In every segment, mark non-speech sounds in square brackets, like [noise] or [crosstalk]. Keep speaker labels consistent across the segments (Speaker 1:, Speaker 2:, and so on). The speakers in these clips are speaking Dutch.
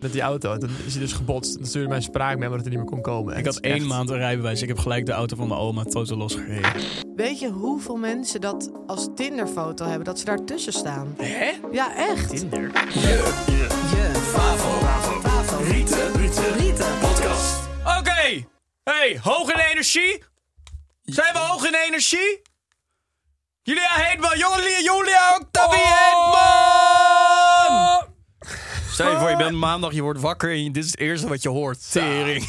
Speaker 1: met die auto. En Toen is hij dus gebotst. Dan stuurde mij een spraakmemo dat hij niet meer kon komen. En
Speaker 2: Ik
Speaker 1: het
Speaker 2: had
Speaker 1: is
Speaker 2: één
Speaker 1: echt-
Speaker 2: maand een rijbewijs. Ik heb gelijk de auto van mijn oma totaal losgereden.
Speaker 3: Weet je hoeveel mensen dat als Tinderfoto hebben? Dat ze daartussen staan.
Speaker 2: Hè?
Speaker 3: Ja, echt.
Speaker 2: Tinder? Oké. Hey, hoog in energie? Zijn we hoog in energie? Julia Heetman, Julia, Julia Octavie
Speaker 1: Oh!
Speaker 2: Heetman! Stel je voor, je bent maandag, je wordt wakker en dit is het eerste wat je hoort. Tering.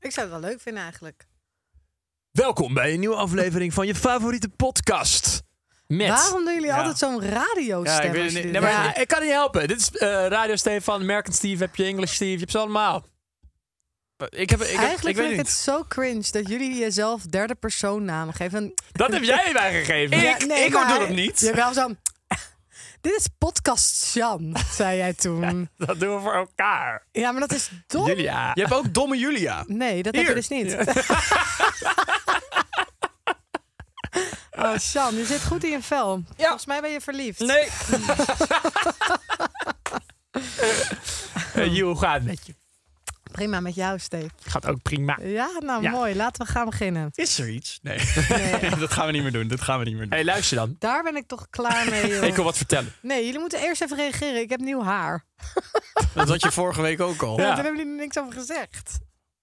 Speaker 3: Ik zou het wel leuk vinden eigenlijk.
Speaker 1: Welkom bij een nieuwe aflevering van je favoriete podcast. Met...
Speaker 3: Waarom doen jullie
Speaker 2: Ja.
Speaker 3: altijd zo'n radiostem?
Speaker 2: Ja, ik weet het
Speaker 3: als jullie
Speaker 2: niet.
Speaker 3: doen?
Speaker 1: Ja, maar
Speaker 3: Ja,
Speaker 1: ja, ik kan niet helpen. Dit is eh, Radio Stefan, American Steve, heb je English Steve, je hebt ze allemaal.
Speaker 2: Ik heb, ik heb,
Speaker 3: Eigenlijk
Speaker 2: ik weet
Speaker 3: vind ik het
Speaker 2: niet.
Speaker 3: zo cringe dat jullie jezelf derde persoon namen geven. En-
Speaker 1: Dat heb
Speaker 3: [laughs]
Speaker 1: jij mij gegeven.
Speaker 2: Ik-
Speaker 3: Ja,
Speaker 2: ik hoor
Speaker 3: maar-
Speaker 2: dat niet.
Speaker 3: Jawel, zo. [laughs] Dit is podcast Jan, zei jij toen.
Speaker 1: Dat doen we voor elkaar.
Speaker 3: Ja, maar dat is dom.
Speaker 1: Julia.
Speaker 2: Je hebt ook domme Julia.
Speaker 3: Nee, dat
Speaker 2: Hier.
Speaker 3: heb je dus niet. [laughs] oh, Sjan, je zit goed in je vel. Volgens mij ben je verliefd.
Speaker 2: Nee.
Speaker 1: Eh, Joe, hoe gaat het met je?
Speaker 3: Prima met jou, Steve.
Speaker 1: Gaat ook prima.
Speaker 3: Ja, nou
Speaker 1: Ja.
Speaker 3: mooi. Laten we gaan
Speaker 1: [laughs]
Speaker 3: beginnen.
Speaker 2: Is er iets? Nee. [laughs]
Speaker 3: Nee.
Speaker 2: dat gaan we niet meer doen. Dat gaan we niet meer doen.
Speaker 1: hey, luister dan.
Speaker 3: Daar ben ik toch klaar mee. joh.
Speaker 1: Ik wil wat vertellen.
Speaker 3: Nee, jullie moeten eerst even reageren. Ik heb nieuw haar.
Speaker 2: Dat had je vorige week ook al.
Speaker 1: Ja.
Speaker 3: Daar hebben jullie niks over gezegd.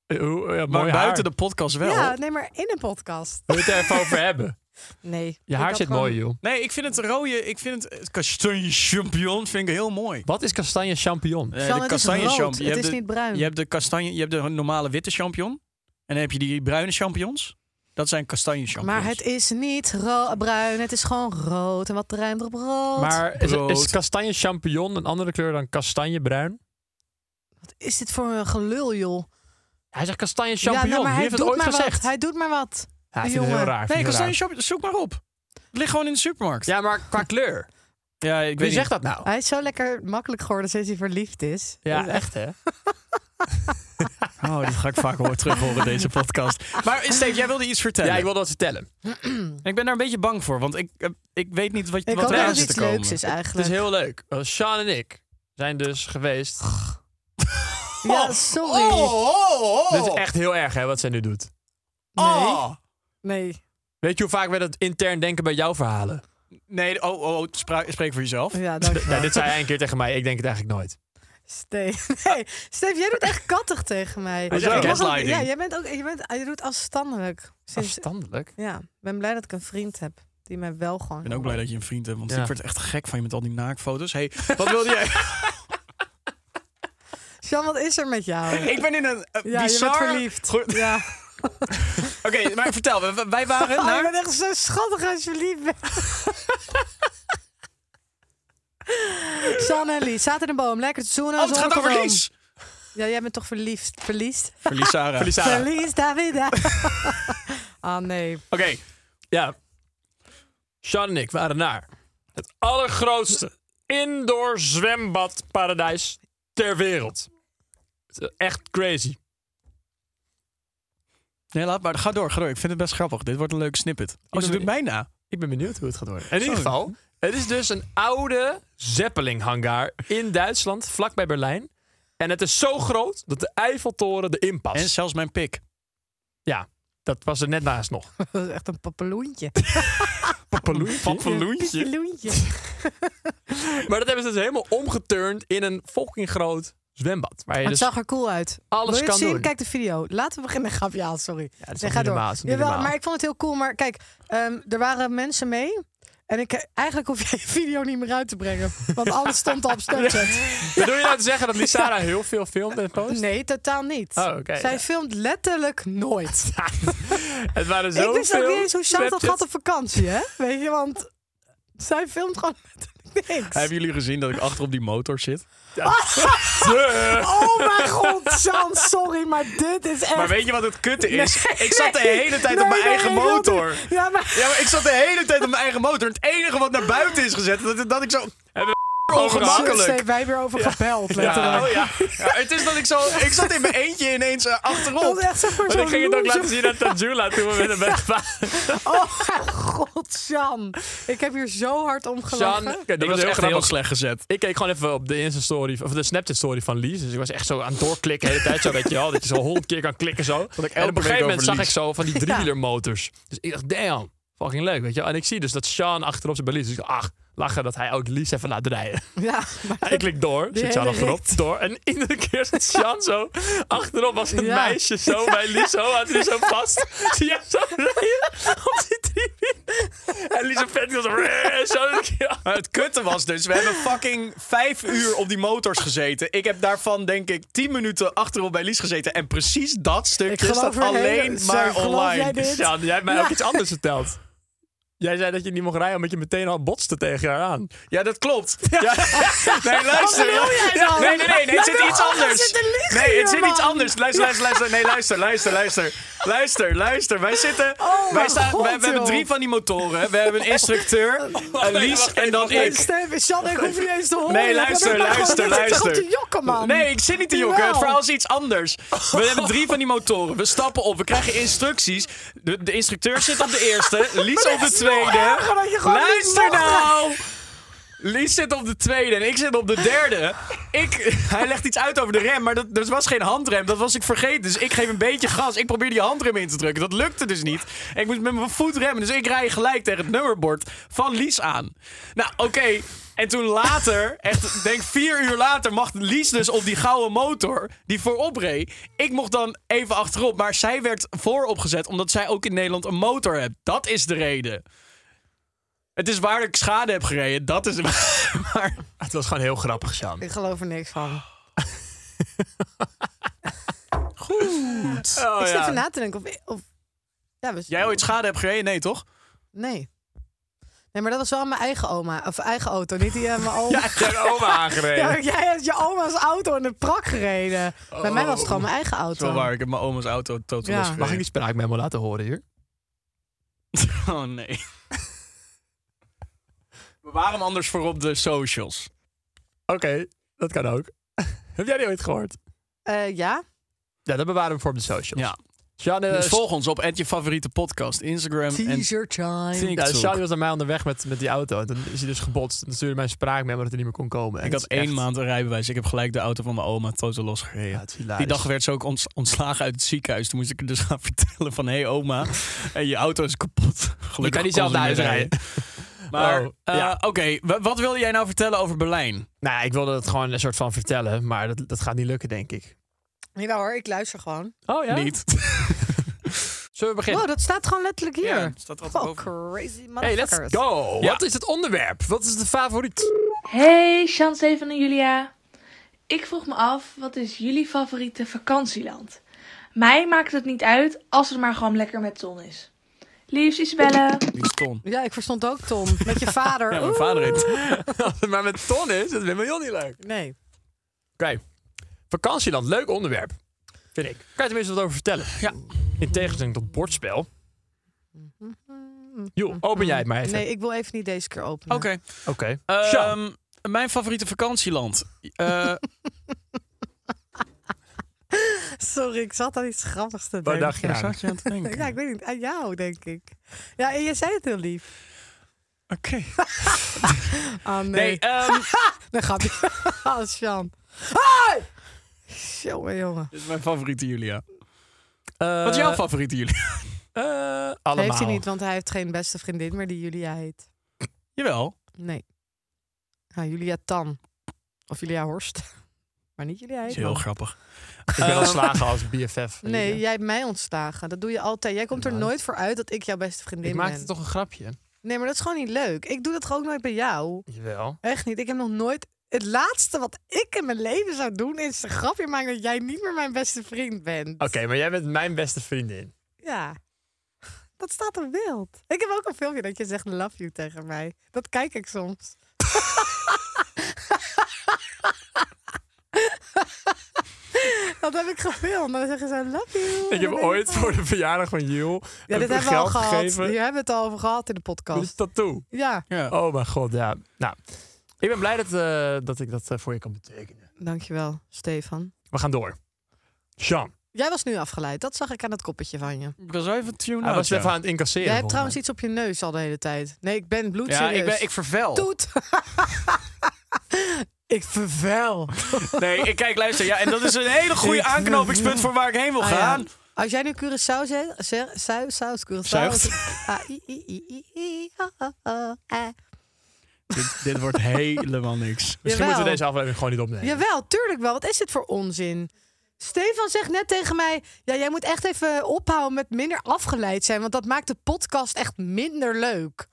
Speaker 1: Eh, hoe- ja,
Speaker 2: Maar
Speaker 1: mooi haar.
Speaker 2: buiten de podcast wel.
Speaker 3: Ja, nee, maar in een podcast.
Speaker 1: Wil je het er even over hebben?
Speaker 3: Nee.
Speaker 1: Je haar
Speaker 3: Ik
Speaker 1: zit
Speaker 3: had
Speaker 1: mooi,
Speaker 3: gewoon-
Speaker 1: joh.
Speaker 2: Nee, ik vind het rode, ik vind het, het kastanje champignon vind ik heel mooi.
Speaker 1: Wat is kastanje champignon?
Speaker 2: Eh,
Speaker 3: Sjan,
Speaker 2: de
Speaker 3: het is
Speaker 2: kastanje
Speaker 3: rood.
Speaker 2: champ- je
Speaker 3: Het
Speaker 2: hebt
Speaker 3: is
Speaker 2: de-
Speaker 3: niet bruin.
Speaker 2: Je hebt de kastanje, je hebt de normale witte champignon en dan heb je die bruine champignons. Dat zijn kastanje champignons.
Speaker 3: Maar het is niet ro- bruin, het is gewoon rood. En wat ruimt op rood?
Speaker 1: Maar is,
Speaker 2: Brood.
Speaker 1: is kastanje champignon een andere kleur dan kastanjebruin?
Speaker 3: Wat is dit voor een gelul, joh?
Speaker 1: Hij zegt kastanje
Speaker 3: Ja, nou,
Speaker 1: champignon.
Speaker 3: maar
Speaker 1: Wie
Speaker 3: hij
Speaker 1: heeft
Speaker 3: doet
Speaker 1: het ooit
Speaker 3: maar
Speaker 1: gezegd?
Speaker 3: wat. Hij doet maar wat.
Speaker 1: Ja, ik vind het heel
Speaker 3: Jongen.
Speaker 1: raar. ik vind het
Speaker 2: Nee,
Speaker 1: heel
Speaker 2: kastanje champignon, zoek maar op. Het ligt gewoon in de supermarkt.
Speaker 1: raar. Ja, maar qua kleur.
Speaker 2: Ja, ik
Speaker 1: Wie
Speaker 2: weet
Speaker 1: zegt dat nou?
Speaker 3: Hij is zo lekker makkelijk geworden sinds hij verliefd is.
Speaker 1: Ja,
Speaker 3: Dus
Speaker 1: echt hè?
Speaker 2: niet. Oh, dit ga ik vaak hoor terug horen [laughs] deze podcast. Maar eh, Steve, jij wilde iets vertellen.
Speaker 1: Ja, ik
Speaker 2: ik,
Speaker 1: wil dat vertellen.
Speaker 2: ben daar een beetje bang voor, want ik, eh, ik weet niet wat,
Speaker 3: Ik
Speaker 2: wat
Speaker 3: hoop dat
Speaker 2: eraan
Speaker 3: het
Speaker 2: zit
Speaker 3: iets
Speaker 2: te komen.
Speaker 3: leuks is
Speaker 1: Het
Speaker 3: eigenlijk.
Speaker 1: is heel leuk. Want Sean en ik zijn dus geweest. Oh!
Speaker 3: Ja,
Speaker 2: Oh,
Speaker 3: sorry.
Speaker 1: Dit is echt heel erg hè, wat zij nu doet.
Speaker 2: Ah.
Speaker 3: Nee. Nee.
Speaker 1: Weet je hoe vaak wij dat intern denken bij jouw verhalen?
Speaker 2: Nee, oh, oh, oh, spra- spreek voor jezelf.
Speaker 3: Ja, dank je
Speaker 1: [laughs]
Speaker 2: [laughs]
Speaker 1: Ja,
Speaker 3: wel.
Speaker 1: dit zei hij een keer tegen mij. Ik denk het eigenlijk nooit.
Speaker 3: Steve. [laughs] Nee, Steve, jij doet echt kattig tegen mij.
Speaker 2: Hij is
Speaker 3: Ik
Speaker 1: echt
Speaker 3: mag ook-
Speaker 2: gaslighting.
Speaker 3: ja, jij bent ook. Je, bent, je doet afstandelijk. Sinds,
Speaker 1: Afstandelijk.
Speaker 3: ja, ik ben blij dat ik een vriend heb die mij wel gewoon.
Speaker 2: Ik ben ook blij dat je een vriend hebt, want
Speaker 1: Ja.
Speaker 2: ik word echt gek van je met al die naakfoto's. Hey, wat wilde [laughs] jij?
Speaker 3: Sjan, wat is er met jou?
Speaker 2: ik ben in een eh,
Speaker 3: ja, je bent
Speaker 2: bizar...
Speaker 3: verliefd.
Speaker 2: Goed,
Speaker 3: Ja.
Speaker 2: [laughs] Oké, maar vertel, we- we- wij waren
Speaker 3: Oh, je
Speaker 2: naar...
Speaker 3: bent echt zo schattig als je lief bent.
Speaker 2: [laughs]
Speaker 3: San en Lies, zaten in een boom, lekker te zoenen.
Speaker 2: Oh, het gaat over
Speaker 3: zonnekroon.
Speaker 2: Lies.
Speaker 3: Ja, jij bent toch verliefd? Verliefd?
Speaker 2: Verlies
Speaker 3: [laughs]
Speaker 2: Sarah.
Speaker 1: Verlies Sarah. Oké,
Speaker 3: Verliefd, Davida. [laughs] Ah, nee. [laughs]
Speaker 1: ja. Sean en ik waren naar het allergrootste indoor zwembadparadijs ter wereld. Het is Echt crazy.
Speaker 2: Nee, laat maar. Ga door, ga door. Ik vind het best grappig. Dit wordt een leuk snippet. Oh, ze
Speaker 1: ben-
Speaker 2: doet mij na.
Speaker 1: Ik ben benieuwd hoe het gaat worden. In ieder
Speaker 2: Sorry.
Speaker 1: geval, het is dus een oude Zeppelin-hangar in Duitsland, vlakbij Berlijn. En het is zo groot dat de Eiffeltoren erin past.
Speaker 2: En zelfs mijn pik.
Speaker 1: Dat was er net naast nog.
Speaker 3: Dat is echt een papaloentje. [laughs]
Speaker 2: Papaloentje.
Speaker 3: Papaloentje.
Speaker 1: Maar dat hebben ze dus helemaal omgeturnd in een fucking groot zwembad. Waar je
Speaker 3: Het
Speaker 1: dus
Speaker 3: zag er cool uit.
Speaker 1: alles
Speaker 3: Wil je het
Speaker 1: kan
Speaker 3: zien?
Speaker 1: doen.
Speaker 3: Kijk de video. Laten we beginnen. Grapje, ja, sorry.
Speaker 1: Ja, dat is toch
Speaker 3: Nee,
Speaker 1: niet
Speaker 3: ga door.
Speaker 1: normaal, dat is toch niet
Speaker 3: Jawel,
Speaker 1: normaal.
Speaker 3: maar ik vond het heel cool. Maar kijk, ehm, er waren mensen mee. En ik, eigenlijk hoef je je video niet meer uit te brengen. Want alles
Speaker 1: [laughs]
Speaker 3: stond al op Snapchat.
Speaker 1: Bedoel je nou te
Speaker 3: [laughs]
Speaker 1: zeggen dat Lissara heel veel filmt en post?
Speaker 3: Nee, totaal niet.
Speaker 1: Oh, oké,
Speaker 3: Zij
Speaker 1: ja.
Speaker 3: filmt letterlijk
Speaker 1: [laughs]
Speaker 3: nooit.
Speaker 1: Het waren
Speaker 3: ik
Speaker 1: zoveel
Speaker 3: wist ook niet eens hoe Sjan dat
Speaker 1: Snapchats.
Speaker 3: had op vakantie, hè? Weet je, want zij filmt gewoon letterlijk niks.
Speaker 2: Hebben jullie gezien dat ik achter op die motor zit?
Speaker 3: Oh mijn god, Sjan, sorry, maar dit is echt...
Speaker 2: Maar weet je wat het kutte is?
Speaker 3: Nee.
Speaker 2: Ik zat de hele tijd op
Speaker 3: Nee,
Speaker 2: mijn
Speaker 3: nee,
Speaker 2: eigen
Speaker 3: ik wil niet.
Speaker 2: motor.
Speaker 3: Ja, maar...
Speaker 2: Ja, maar ik zat de hele tijd op mijn eigen motor. En het enige wat naar buiten is gezet, dat, dat ik zo...
Speaker 1: Ongemakkelijk.
Speaker 3: Steven, wij weer over gebeld, letterlijk.
Speaker 2: Ja, oh ja. Ja, het is dat ik
Speaker 3: [laughs]
Speaker 2: zo... Ik zat in mijn eentje ineens eh,
Speaker 3: Dat
Speaker 2: achterop.
Speaker 3: was echt zeg maar
Speaker 1: Maar
Speaker 3: zo'n
Speaker 1: ik ging het ook
Speaker 3: loser.
Speaker 1: laten zien aan Tajula toen we weer
Speaker 3: [laughs]
Speaker 1: naar bed waren.
Speaker 3: Oh, mijn god, Sjan. Ik heb hier zo hard om gelachen.
Speaker 1: Sjan, kijk, dat was heel grappig.
Speaker 2: slecht gezet.
Speaker 1: Ik keek gewoon even op de Insta-story, of de Snapchat-story van Lies. Dus ik was echt zo aan het doorklikken de hele tijd. Zo, weet je wel, dat je zo honderd keer kan klikken zo.
Speaker 2: ik
Speaker 1: En
Speaker 2: elke
Speaker 1: op een gegeven
Speaker 2: week
Speaker 1: moment zag
Speaker 2: over
Speaker 1: ik zo van die
Speaker 3: Ja.
Speaker 1: driewielen motors. Dus ik dacht, damn, fucking leuk, weet je wel. En ik zie dus dat Sean achterop zit bij Lies. Dus ik dacht, ach, lachen dat hij ook Lies even laat rijden.
Speaker 3: Ja, maar
Speaker 1: Ik klik door,
Speaker 3: Die
Speaker 1: zit Sean
Speaker 3: hele
Speaker 1: achterop, door. En iedere keer zit Sean zo achterop als een
Speaker 3: Ja.
Speaker 1: meisje zo bij Lies. Zo houdt hij zo vast. Zie jij zo rijden op die driewielen. En Lies een vet, die was zo... "Rrr", zo een keer.
Speaker 2: Maar het kutte was dus, we hebben fucking vijf uur op die motors gezeten. Ik heb daarvan denk ik tien minuten achterop bij Lies gezeten. En precies dat
Speaker 3: ik
Speaker 2: stukje
Speaker 3: geloof
Speaker 2: staat
Speaker 3: er
Speaker 2: alleen
Speaker 3: helemaal-
Speaker 2: maar
Speaker 3: Sjan, geloof jij
Speaker 2: online.
Speaker 3: dit?
Speaker 1: Sean, Dus jij hebt mij ook iets anders verteld. Jij zei dat je niet mocht rijden omdat je meteen al botste tegen haar aan.
Speaker 2: Ja, dat
Speaker 3: [laughs]
Speaker 2: klopt. Ja. Nee, luister.
Speaker 3: Wat wil jij
Speaker 2: Ja,
Speaker 3: dan?
Speaker 2: Nee, nee, nee, nee, het
Speaker 3: Jij
Speaker 2: zit
Speaker 3: wil
Speaker 2: iets
Speaker 3: alles
Speaker 2: anders.
Speaker 3: zitten liegen
Speaker 2: Nee, het
Speaker 3: hier,
Speaker 2: zit iets
Speaker 3: man.
Speaker 2: anders. Luister, luister, luister. Nee, luister, luister, luister. Luister, luister. Wij zitten...
Speaker 3: Oh
Speaker 2: wij
Speaker 3: mijn
Speaker 2: staan,
Speaker 3: God,
Speaker 2: wij- we hebben
Speaker 3: joh. Oh,
Speaker 2: drie van die motoren. We hebben een instructeur, een Lies en dan
Speaker 3: nee,
Speaker 2: ik.
Speaker 3: Steven, Sjan, ik hoef niet eens te horen.
Speaker 2: Nee,
Speaker 3: Ik
Speaker 2: luister,
Speaker 3: ben gewoon-
Speaker 2: luister,
Speaker 3: ik zit toch
Speaker 2: luister.
Speaker 3: op te jokken, man.
Speaker 2: Nee, ik zit niet te jokken.
Speaker 3: Jawel.
Speaker 2: Het verhaal is iets anders.
Speaker 3: [laughs]
Speaker 2: We hebben drie van die motoren. We stappen op. We krijgen instructies. De, de instructeur zit op de eerste. Lies op de tweede.
Speaker 3: erger dat je gewoon niet
Speaker 2: Luister
Speaker 3: mag.
Speaker 2: nou! Lies zit op de tweede en ik zit op de derde. Ik, [laughs] hij legt iets uit over de rem, maar dat, dat was geen handrem. Dat was ik vergeten. Dus ik geef een beetje gas. Ik probeer die handrem in te drukken. Dat lukte dus niet. En ik moest met mijn voet remmen. Dus ik rij gelijk tegen het nummerbord van Lies aan. Nou, oké. En toen later, echt denk vier uur later, mag Lies dus op die gouden motor die voorop reed. Ik mocht dan even achterop, maar zij werd vooropgezet omdat zij ook in Nederland een motor heeft. Dat is de reden. Het is waar ik schade heb gereden. Dat is [laughs] waar.
Speaker 1: Het was gewoon heel grappig, Sean.
Speaker 3: Ik geloof er niks van.
Speaker 2: Oh,
Speaker 3: ik zit
Speaker 2: ja.
Speaker 3: even na te denken of... of ja, we-
Speaker 2: Jij ooit schade hebt gereden? Nee, toch?
Speaker 3: Nee. Nee, maar dat was wel mijn eigen oma. Of eigen auto, niet die aan mijn oma.
Speaker 1: Ja, ik heb oma aangereden.
Speaker 3: Ja, maar [laughs] jij hebt je oma's auto in de prak gereden. Bij mij
Speaker 2: Oh.
Speaker 3: was het gewoon mijn eigen auto.
Speaker 2: Zo waar. Ik heb mijn oma's auto totaal
Speaker 3: Ja.
Speaker 2: los
Speaker 1: Mag ik die spraakmemo laten horen hier?
Speaker 2: [laughs] Oh nee. We waren hem anders voor op de socials.
Speaker 1: Oké, dat kan ook. [laughs] heb jij die ooit gehoord?
Speaker 3: Eh, ja?
Speaker 1: Ja, dat bewaren we voor op de socials.
Speaker 2: Ja.
Speaker 1: Sean, eh,
Speaker 2: Dus volg ons op je favoriete podcast, Instagram en
Speaker 3: time.
Speaker 1: ja,
Speaker 2: TikTok.
Speaker 1: Sean die was naar mij onderweg met, met die auto. En toen is hij dus gebotst. En toen stuurde mijn spraakmemo dat hij niet meer kon komen. En
Speaker 2: ik had
Speaker 1: het is
Speaker 2: één
Speaker 1: echt-
Speaker 2: maand een rijbewijs. Ik heb gelijk de auto van mijn oma totaal los gereden.
Speaker 1: Ja, het is hilarisch.
Speaker 2: Die dag werd ze ook ons- ontslagen uit het ziekenhuis. Toen moest ik er dus gaan [laughs] vertellen van... Hé hey, oma, en je auto is kapot. Gelukkig
Speaker 1: Je kan niet
Speaker 2: kon
Speaker 1: zelf
Speaker 2: ze
Speaker 1: naar
Speaker 2: niet
Speaker 1: huis
Speaker 2: meer
Speaker 1: rijden.
Speaker 2: [laughs] Maar
Speaker 1: Oh,
Speaker 2: eh,
Speaker 1: ja.
Speaker 2: oké, wa- wat wilde jij nou vertellen over Berlijn?
Speaker 1: Nou, ja, ik wilde het gewoon een soort van vertellen. Maar dat, dat gaat niet lukken, denk ik.
Speaker 3: Jawel hoor, ik luister gewoon.
Speaker 1: Oh ja?
Speaker 2: Niet.
Speaker 1: Zullen we [laughs] beginnen?
Speaker 3: Wow, dat staat gewoon letterlijk hier.
Speaker 2: [laughs] Ja, staat er altijd
Speaker 3: Oh,
Speaker 2: boven.
Speaker 3: crazy
Speaker 1: Hey, let's
Speaker 3: motherfuckers.
Speaker 1: go!
Speaker 2: Ja.
Speaker 1: Wat is het onderwerp? Wat is de favoriet?
Speaker 4: Hey, Sjan, Steven en Julia. Ik vroeg me af, wat is jullie favoriete vakantieland? Mij maakt het niet uit als het maar gewoon lekker met zon is. Liefs, Isabelle.
Speaker 2: Die is Ton.
Speaker 3: Ja, ik verstond ook Tom. Met je
Speaker 1: [laughs]
Speaker 3: vader.
Speaker 2: Ja, mijn
Speaker 3: Oeh.
Speaker 2: vader heet.
Speaker 1: Als het [laughs] maar met Ton is, dat vind ik heel niet leuk. Oké.
Speaker 3: Nee.
Speaker 1: Vakantieland, leuk onderwerp. Vind ik. Kan je tenminste wat over vertellen? Ja. In tegenstelling tot bordspel. Joh, open jij het maar even.
Speaker 3: Nee, ik wil even niet deze keer openen.
Speaker 2: Oké.
Speaker 1: Oké. Sjan.
Speaker 2: Ehm, mijn favoriete vakantieland. [laughs] Eh,
Speaker 3: [laughs] Sorry, ik zat aan iets grappigs te
Speaker 1: Waar
Speaker 3: denken.
Speaker 1: dacht je aan?
Speaker 2: zat je aan te denken?
Speaker 3: [laughs] Ja, ik weet niet. Aan jou, denk ik. Ja, en je zei het heel lief.
Speaker 2: Oké.
Speaker 3: Ah, nee.
Speaker 2: Nee, ehm,
Speaker 3: Dan gaat hij. [laughs] Ah, Sjan. Hey! Jongen, jongen.
Speaker 2: dit is mijn favoriete Julia.
Speaker 1: Eh,
Speaker 2: [laughs] Wat is jouw favoriete Julia?
Speaker 1: eh,
Speaker 3: Dat
Speaker 1: allemaal.
Speaker 3: heeft hij niet, want hij heeft geen beste vriendin meer die Julia heet.
Speaker 2: [laughs] Jawel.
Speaker 3: Nee. Ja, Julia Tan. Of Julia Horst. [laughs] Maar niet Julia
Speaker 2: Dat is
Speaker 3: heet.
Speaker 2: heel grappig.
Speaker 1: Ik ben al slagen als BFF.
Speaker 3: Oh. Nee, jij hebt mij ontslagen. Dat doe je altijd. Jij komt er
Speaker 1: Nou.
Speaker 3: nooit voor uit dat ik jouw beste vriendin
Speaker 1: Ik maakte
Speaker 3: ben.
Speaker 1: toch een grapje?
Speaker 3: Nee, maar dat is gewoon niet leuk. Ik doe dat gewoon nooit bij jou.
Speaker 1: Jawel.
Speaker 3: Echt niet. Ik heb nog nooit... Het laatste wat ik in mijn leven zou doen is een grapje maken dat jij niet meer mijn beste vriend bent.
Speaker 1: Oké, maar jij bent mijn beste vriendin.
Speaker 3: Ja. Dat staat op beeld. Ik heb ook een filmpje dat je zegt love you tegen mij. Dat kijk ik soms. [laughs] dat heb ik gefilmd. En dan zeggen ze love you.
Speaker 1: Ik heb
Speaker 3: Dan denk
Speaker 1: ooit
Speaker 3: oh.
Speaker 1: voor de verjaardag van Jules
Speaker 3: Ja, dit
Speaker 1: een
Speaker 3: hebben we al
Speaker 1: geld
Speaker 3: gehad.
Speaker 1: gegeven. Dus-
Speaker 3: Hier hebben we het al over gehad in de
Speaker 1: Een
Speaker 3: podcast.
Speaker 1: tattoo.
Speaker 3: Ja.
Speaker 2: Ja.
Speaker 1: Oh mijn god, ja. Nou, Ik ben blij dat, eh, dat ik dat eh, voor je kan betekenen.
Speaker 3: Dankjewel, Stefan.
Speaker 1: We gaan door. Sean.
Speaker 3: Jij was nu afgeleid. Dat zag ik aan dat koppetje van je.
Speaker 2: Ik was even tune
Speaker 1: Hij was even aan het incasseren.
Speaker 3: Jij
Speaker 1: volgens
Speaker 3: hebt trouwens iets op je neus al de hele tijd. Nee, ik ben bloedserieus.
Speaker 2: Ja, ik, ben, ik vervel.
Speaker 3: Toet. [laughs] ik vervel.
Speaker 2: Nee, ik kijk, luister. Ja, en dat is een hele [laughs] goede
Speaker 3: Ik
Speaker 2: aanknopingspunt voor waar ik heen wil
Speaker 3: Ah, ja.
Speaker 2: gaan.
Speaker 3: Als jij nu Curaçao zegt, zeg, sui- saus, Curaçao.
Speaker 2: Zuigt.
Speaker 3: Ah, i, i, i, i, i, ah, ah, ah, eh.
Speaker 2: dit, dit wordt helemaal niks.
Speaker 1: Misschien moeten we
Speaker 3: Jawel.
Speaker 1: deze aflevering gewoon niet opnemen.
Speaker 3: Jawel, tuurlijk wel. Wat is dit voor onzin? Stefan zegt net tegen mij: ja, jij moet echt even ophouden met minder afgeleid zijn, want dat maakt de podcast echt minder leuk.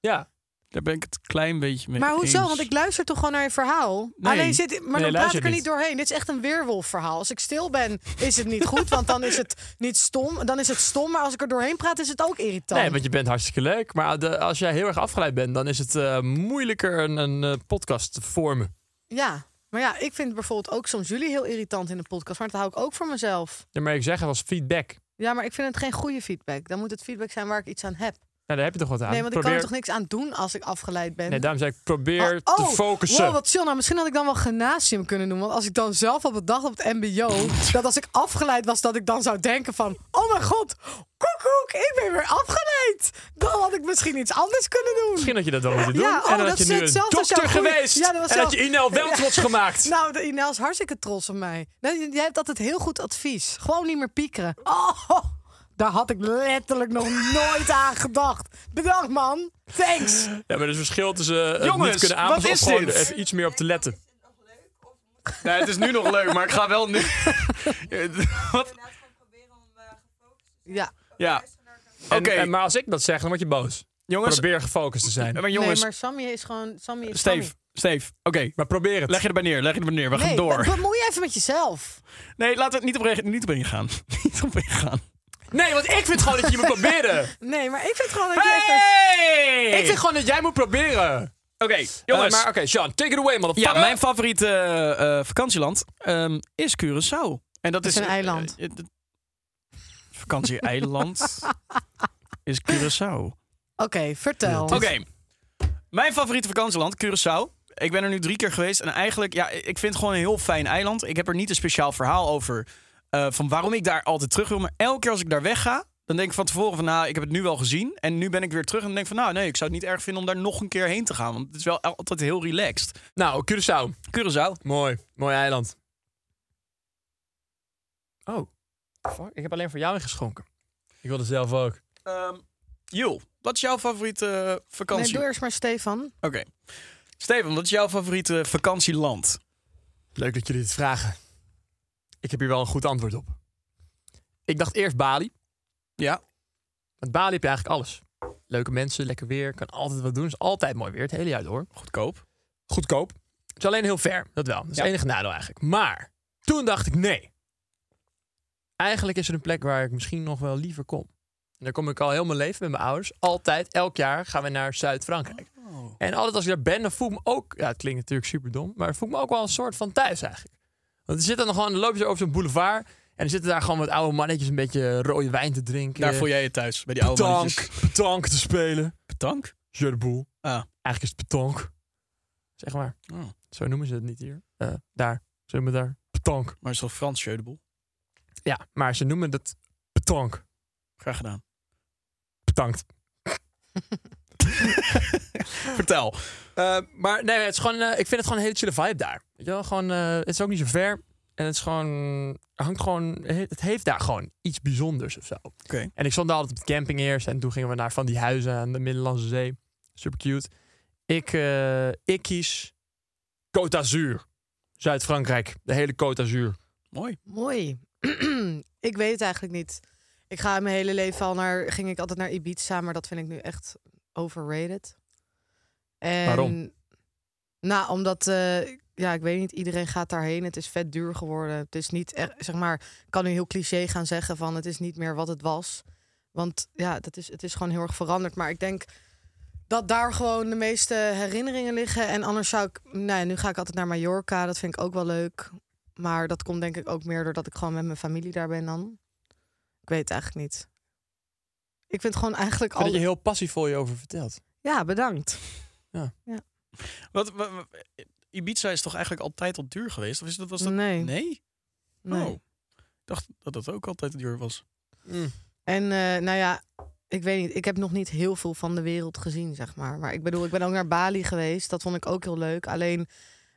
Speaker 1: Ja.
Speaker 2: Daar ben ik het klein beetje mee
Speaker 3: maar hoezo?
Speaker 2: eens.
Speaker 3: Want ik luister toch gewoon naar je verhaal.
Speaker 2: Nee.
Speaker 3: Alleen zit, maar dan praat
Speaker 1: luister
Speaker 3: ik er niet
Speaker 1: niet.
Speaker 3: doorheen. Dit is echt een weerwolfverhaal. Als ik stil ben, is het niet goed, want dan is het niet stom. Dan is het stom, maar als ik er doorheen praat, is het ook irritant.
Speaker 1: Nee, want je bent hartstikke leuk. Maar de- als jij heel erg afgeleid bent, dan is het eh, moeilijker een, een eh, podcast te vormen.
Speaker 3: Ja, maar ja, ik vind bijvoorbeeld ook soms jullie heel irritant in de podcast, maar dat hou ik ook voor mezelf.
Speaker 1: Ja, maar ik zeg het als feedback.
Speaker 3: Ja, maar ik vind het geen goede feedback. Dan moet het feedback zijn waar ik iets aan heb.
Speaker 1: Nou, daar heb je toch wat aan.
Speaker 3: nee, want ik kan
Speaker 1: probeer...
Speaker 3: er toch niks aan doen als ik afgeleid ben.
Speaker 1: Nee, daarom zei ik, probeer
Speaker 3: Oh,
Speaker 1: te
Speaker 3: oh,
Speaker 1: focussen.
Speaker 3: Wow, wat chill. Nou, misschien had ik dan wel gymnasium kunnen doen. Want als ik dan zelf had bedacht op het mbo... dat als ik afgeleid was, dat ik dan zou denken van... oh mijn god, koekoek, ik ben weer afgeleid. Dan had ik misschien iets anders kunnen doen.
Speaker 1: Misschien dat je dat dan moet doen.
Speaker 3: Ja, oh,
Speaker 1: en dat,
Speaker 3: dat
Speaker 1: je
Speaker 3: is
Speaker 1: nu een
Speaker 3: hetzelfde als jouw
Speaker 1: dokter
Speaker 3: goeie-
Speaker 1: geweest.
Speaker 3: Ja, dat was
Speaker 1: en dat je
Speaker 3: zelf- [laughs]
Speaker 1: Inel wel trots gemaakt.
Speaker 3: Nou, de Inel is hartstikke trots op mij. Nee, Jij hebt altijd heel goed advies. Gewoon niet meer piekeren. Oh, daar had ik letterlijk nog nooit aan gedacht. Bedankt, man. Thanks.
Speaker 1: Ja, maar er is verschil tussen eh, het
Speaker 2: Jongens,
Speaker 1: niet kunnen
Speaker 2: wat
Speaker 1: aanpassen of
Speaker 2: is
Speaker 1: gewoon
Speaker 2: dit?
Speaker 1: even iets meer op te letten.
Speaker 2: Nou, het is nu nog leuk, maar ik ga wel nu...
Speaker 3: [laughs]
Speaker 2: Wat?
Speaker 3: Ja,
Speaker 2: Ja. Oké,
Speaker 1: En- en- Maar als ik dat zeg, dan word je boos.
Speaker 2: jongens.
Speaker 1: Probeer gefocust te zijn.
Speaker 2: Maar
Speaker 3: nee,
Speaker 2: jongens,
Speaker 3: maar Sammy is gewoon... Sammy is
Speaker 2: Steve,
Speaker 3: Sammy.
Speaker 2: Steve, oké.
Speaker 1: Maar probeer het.
Speaker 2: Leg je erbij neer, leg je erbij neer. We gaan
Speaker 3: Nee, [laughs]
Speaker 2: door.
Speaker 3: bemoei je even met jezelf.
Speaker 2: Nee, laten we het niet op, reg- niet op ingaan. niet op ingaan.
Speaker 1: Nee, want ik vind gewoon dat [laughs] je moet proberen.
Speaker 3: Nee, maar ik vind gewoon dat je even...
Speaker 2: Hey!
Speaker 1: Ik vind gewoon dat jij moet proberen.
Speaker 2: Oké,
Speaker 1: Jongens.
Speaker 3: Eh,
Speaker 2: jongens.
Speaker 1: maar oké, Sean, take it away,
Speaker 2: ja,
Speaker 1: motherfucker.
Speaker 2: mijn favoriete eh, eh, vakantieland ehm, is Curaçao. En dat,
Speaker 3: is een
Speaker 2: eh,
Speaker 3: eiland.
Speaker 2: eh, eh,
Speaker 3: [laughs]
Speaker 2: Vakantie-eiland is Curaçao.
Speaker 3: Oké, vertel.
Speaker 2: Oké. Mijn favoriete vakantieland, Curaçao. Ik ben er nu drie keer geweest. En eigenlijk, ja, ik vind het gewoon een heel fijn eiland. Ik heb er niet een speciaal verhaal over eh, van waarom ik daar altijd terug wil. Maar elke keer als ik daar wegga, dan denk ik van tevoren van... nou, ik heb het nu wel gezien. En nu ben ik weer terug en dan denk ik van... nou, nee, ik zou het niet erg vinden om daar nog een keer heen te gaan. Want het is wel altijd heel relaxed.
Speaker 1: Nou, Curaçao.
Speaker 2: Curaçao.
Speaker 1: Mooi. Mooi eiland. Oh. Fuck, ik heb alleen voor jou ingeschonken. Ik wilde zelf ook.
Speaker 2: Ehm Jul, wat is jouw favoriete eh,
Speaker 3: Nee,
Speaker 2: vakantie?
Speaker 3: doe eerst maar Stefan.
Speaker 2: Oké. Steven, wat is jouw favoriete vakantieland?
Speaker 1: Leuk dat jullie dit vragen. Ik heb hier wel een goed antwoord op. Ik dacht eerst Bali.
Speaker 2: Ja.
Speaker 1: Want Bali heb je eigenlijk alles. Leuke mensen, lekker weer, kan altijd wat doen. is altijd mooi weer, het hele jaar door.
Speaker 2: Goedkoop.
Speaker 1: Goedkoop. Het is alleen heel ver, dat wel. Dat is
Speaker 2: Ja.
Speaker 1: het enige nadeel eigenlijk. Maar toen dacht ik, nee. Eigenlijk is er een plek waar ik misschien nog wel liever kom. En daar kom ik al heel mijn leven met mijn ouders. Altijd, elk jaar gaan we naar Zuid-Frankrijk. En altijd als ik daar ben, dan voel ik me ook... Ja, het klinkt natuurlijk super dom. Maar voel ik me ook wel een soort van thuis eigenlijk. Want er zitten dan gewoon, dan loop je zo over zo'n boulevard... En er zitten daar gewoon wat oude mannetjes een beetje rode wijn te drinken.
Speaker 3: eh,
Speaker 2: Daar voel jij je thuis, bij die oude
Speaker 1: petank,
Speaker 2: mannetjes.
Speaker 1: petank te spelen.
Speaker 2: Petank?
Speaker 1: Je de boel.
Speaker 2: Ah.
Speaker 1: Eigenlijk is het petank. Zeg maar.
Speaker 2: Oh.
Speaker 1: Zo noemen ze het niet hier. Eh, daar. Ze noemen het daar petank.
Speaker 2: Maar het is wel Frans, Jeudeboel.
Speaker 1: Ja, maar ze noemen dat petank.
Speaker 2: Graag gedaan.
Speaker 1: Bedankt.
Speaker 2: Vertel.
Speaker 1: Eh, maar nee, het is gewoon, eh, ik vind het gewoon een hele chille vibe daar. Weet je wel? Gewoon, eh, het is ook niet zo ver. En het is gewoon, er hangt gewoon, het heeft daar gewoon iets bijzonders of zo.
Speaker 2: Oké.
Speaker 1: En ik stond daar altijd op de camping eerst. En toen gingen we naar van die huizen aan de Middellandse Zee. Super cute. Ik, eh, ik kies Côte d'Azur. Zuid-Frankrijk. De hele Côte d'Azur.
Speaker 2: Mooi.
Speaker 3: Mooi. [clears throat] ik weet het eigenlijk niet. Ik ga mijn hele leven al naar... Ging ik altijd naar Ibiza, maar dat vind ik nu echt overrated. En,
Speaker 1: Waarom?
Speaker 3: Nou, omdat... eh, ja, ik weet niet. Iedereen gaat daarheen. Het is vet duur geworden. Het is niet... echt- Zeg maar, ik kan nu heel cliché gaan zeggen van... Het is niet meer wat het was. Want ja, dat is, het is gewoon heel erg veranderd. Maar ik denk dat daar gewoon de meeste herinneringen liggen. En anders zou ik... Nou ja, nu ga ik altijd naar Mallorca. Dat vind ik ook wel leuk. Maar dat komt denk ik ook meer doordat ik gewoon met mijn familie daar ben dan. Ik weet het eigenlijk niet. Ik vind gewoon eigenlijk
Speaker 1: Ik vind
Speaker 3: al...
Speaker 1: dat je heel passief voor je over vertelt.
Speaker 3: Ja, bedankt.
Speaker 2: Wat, wa- wa- Ibiza is toch eigenlijk altijd al duur geweest? Of is dat, was dat...
Speaker 3: Nee.
Speaker 2: Nee?
Speaker 3: nee.
Speaker 2: Oh. Ik dacht dat dat ook altijd duur was.
Speaker 1: Mm.
Speaker 3: En eh, nou ja, ik weet niet. Ik heb nog niet heel veel van de wereld gezien, zeg maar. Maar ik bedoel, ik ben ook naar Bali geweest. Dat vond ik ook heel leuk. Alleen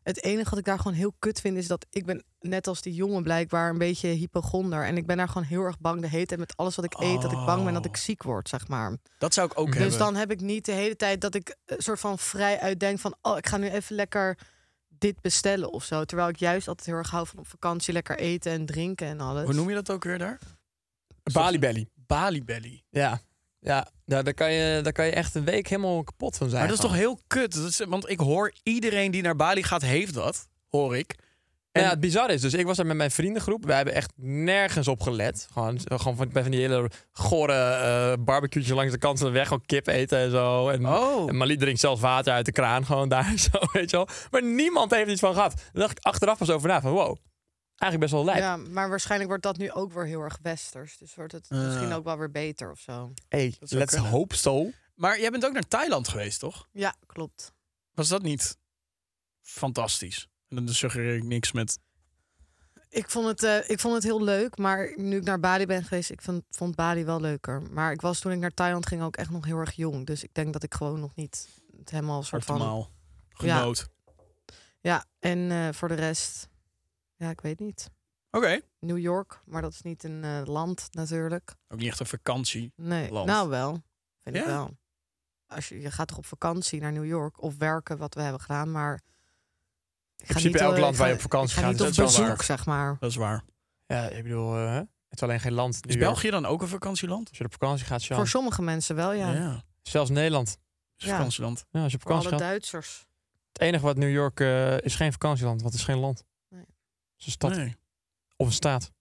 Speaker 3: het enige wat ik daar gewoon heel kut vind is dat ik ben net als die jongen blijkbaar een beetje hypochonder. En ik ben daar gewoon heel erg bang de hele tijd met alles wat ik eet. Dat ik bang ben dat ik
Speaker 2: Oh.
Speaker 3: ziek word, zeg maar.
Speaker 2: Dat zou ik ook
Speaker 1: Dus
Speaker 2: hebben.
Speaker 3: Dus dan heb ik niet de hele tijd dat ik een soort van vrij uitdenk van... oh, ik ga nu even lekker dit bestellen of zo. Terwijl ik juist altijd heel erg hou van op vakantie lekker eten en drinken en alles.
Speaker 2: Hoe noem je dat ook weer daar?
Speaker 1: Bali Belly.
Speaker 2: Bali Belly.
Speaker 1: Ja. Ja, nou, daar, kan je, daar kan je echt een week helemaal kapot van zijn.
Speaker 2: Maar dat is toch
Speaker 1: gewoon.
Speaker 2: heel kut? Dat is, want ik hoor iedereen die naar Bali gaat, heeft dat. Hoor ik.
Speaker 1: Nou ja, het bizar is, dus ik was daar met mijn vriendengroep. Wij hebben echt nergens op gelet. Gewoon, eh, gewoon van, bij van die hele gore eh barbecue'tjes langs de kant van de weg. Gewoon kip eten en zo. En,
Speaker 2: Oh.
Speaker 1: en Malie drinkt zelf water uit de kraan. Gewoon daar [laughs] zo, weet je wel. Maar niemand heeft iets van gehad. Daar dacht ik achteraf pas over na van wow. Eigenlijk best wel lijp.
Speaker 3: Ja, maar waarschijnlijk wordt dat nu ook weer heel erg westers. Dus wordt het
Speaker 2: Eh.
Speaker 3: misschien ook wel weer beter of zo.
Speaker 1: Hey,
Speaker 2: Dat zou
Speaker 1: let's
Speaker 2: kunnen.
Speaker 1: hope so.
Speaker 2: Maar jij bent ook naar Thailand geweest, toch?
Speaker 3: Ja, klopt.
Speaker 2: Was dat niet fantastisch? En dan suggereer ik niks met.
Speaker 3: Ik vond, het, eh, ik vond het heel leuk, maar nu ik naar Bali ben geweest, ik vond, vond Bali wel leuker. Maar ik was toen ik naar Thailand ging ook echt nog heel erg jong. Dus ik denk dat ik gewoon nog niet het helemaal een soort van...
Speaker 2: Hartemaal. Genoot.
Speaker 3: Ja, en eh, voor de rest, ja, ik weet niet.
Speaker 2: Oké.
Speaker 3: New York, maar dat is niet een eh, land natuurlijk.
Speaker 2: Ook niet echt een vakantie.
Speaker 3: Nee,
Speaker 2: Land.
Speaker 3: nou wel. Vind ik
Speaker 2: Ja?
Speaker 3: wel. Als je, je gaat toch op vakantie naar New York of werken, wat we hebben gedaan, maar... In
Speaker 1: principe elk land waar je op vakantie
Speaker 3: eh, Ik ga
Speaker 1: gaat,
Speaker 3: niet
Speaker 1: dat
Speaker 3: op
Speaker 1: is wel
Speaker 3: bezoek,
Speaker 1: waar.
Speaker 3: zeg maar.
Speaker 2: Dat is waar.
Speaker 1: Ja, ik bedoel, eh, het is alleen geen land.
Speaker 2: Is
Speaker 1: New York.
Speaker 2: België dan ook een vakantieland?
Speaker 1: Als je op vakantie gaat, Sjan.
Speaker 3: Voor sommige mensen wel, Oh ja.
Speaker 1: Zelfs Nederland.
Speaker 2: Is
Speaker 3: Ja.
Speaker 2: vakantieland.
Speaker 1: Ja, als je op
Speaker 3: Voor
Speaker 1: vakantie
Speaker 3: alle
Speaker 1: gaat.
Speaker 3: Duitsers.
Speaker 1: Het enige wat New York eh, is geen vakantieland, want het is geen land.
Speaker 3: Nee.
Speaker 1: Het is een stad
Speaker 2: Nee.
Speaker 1: of een staat.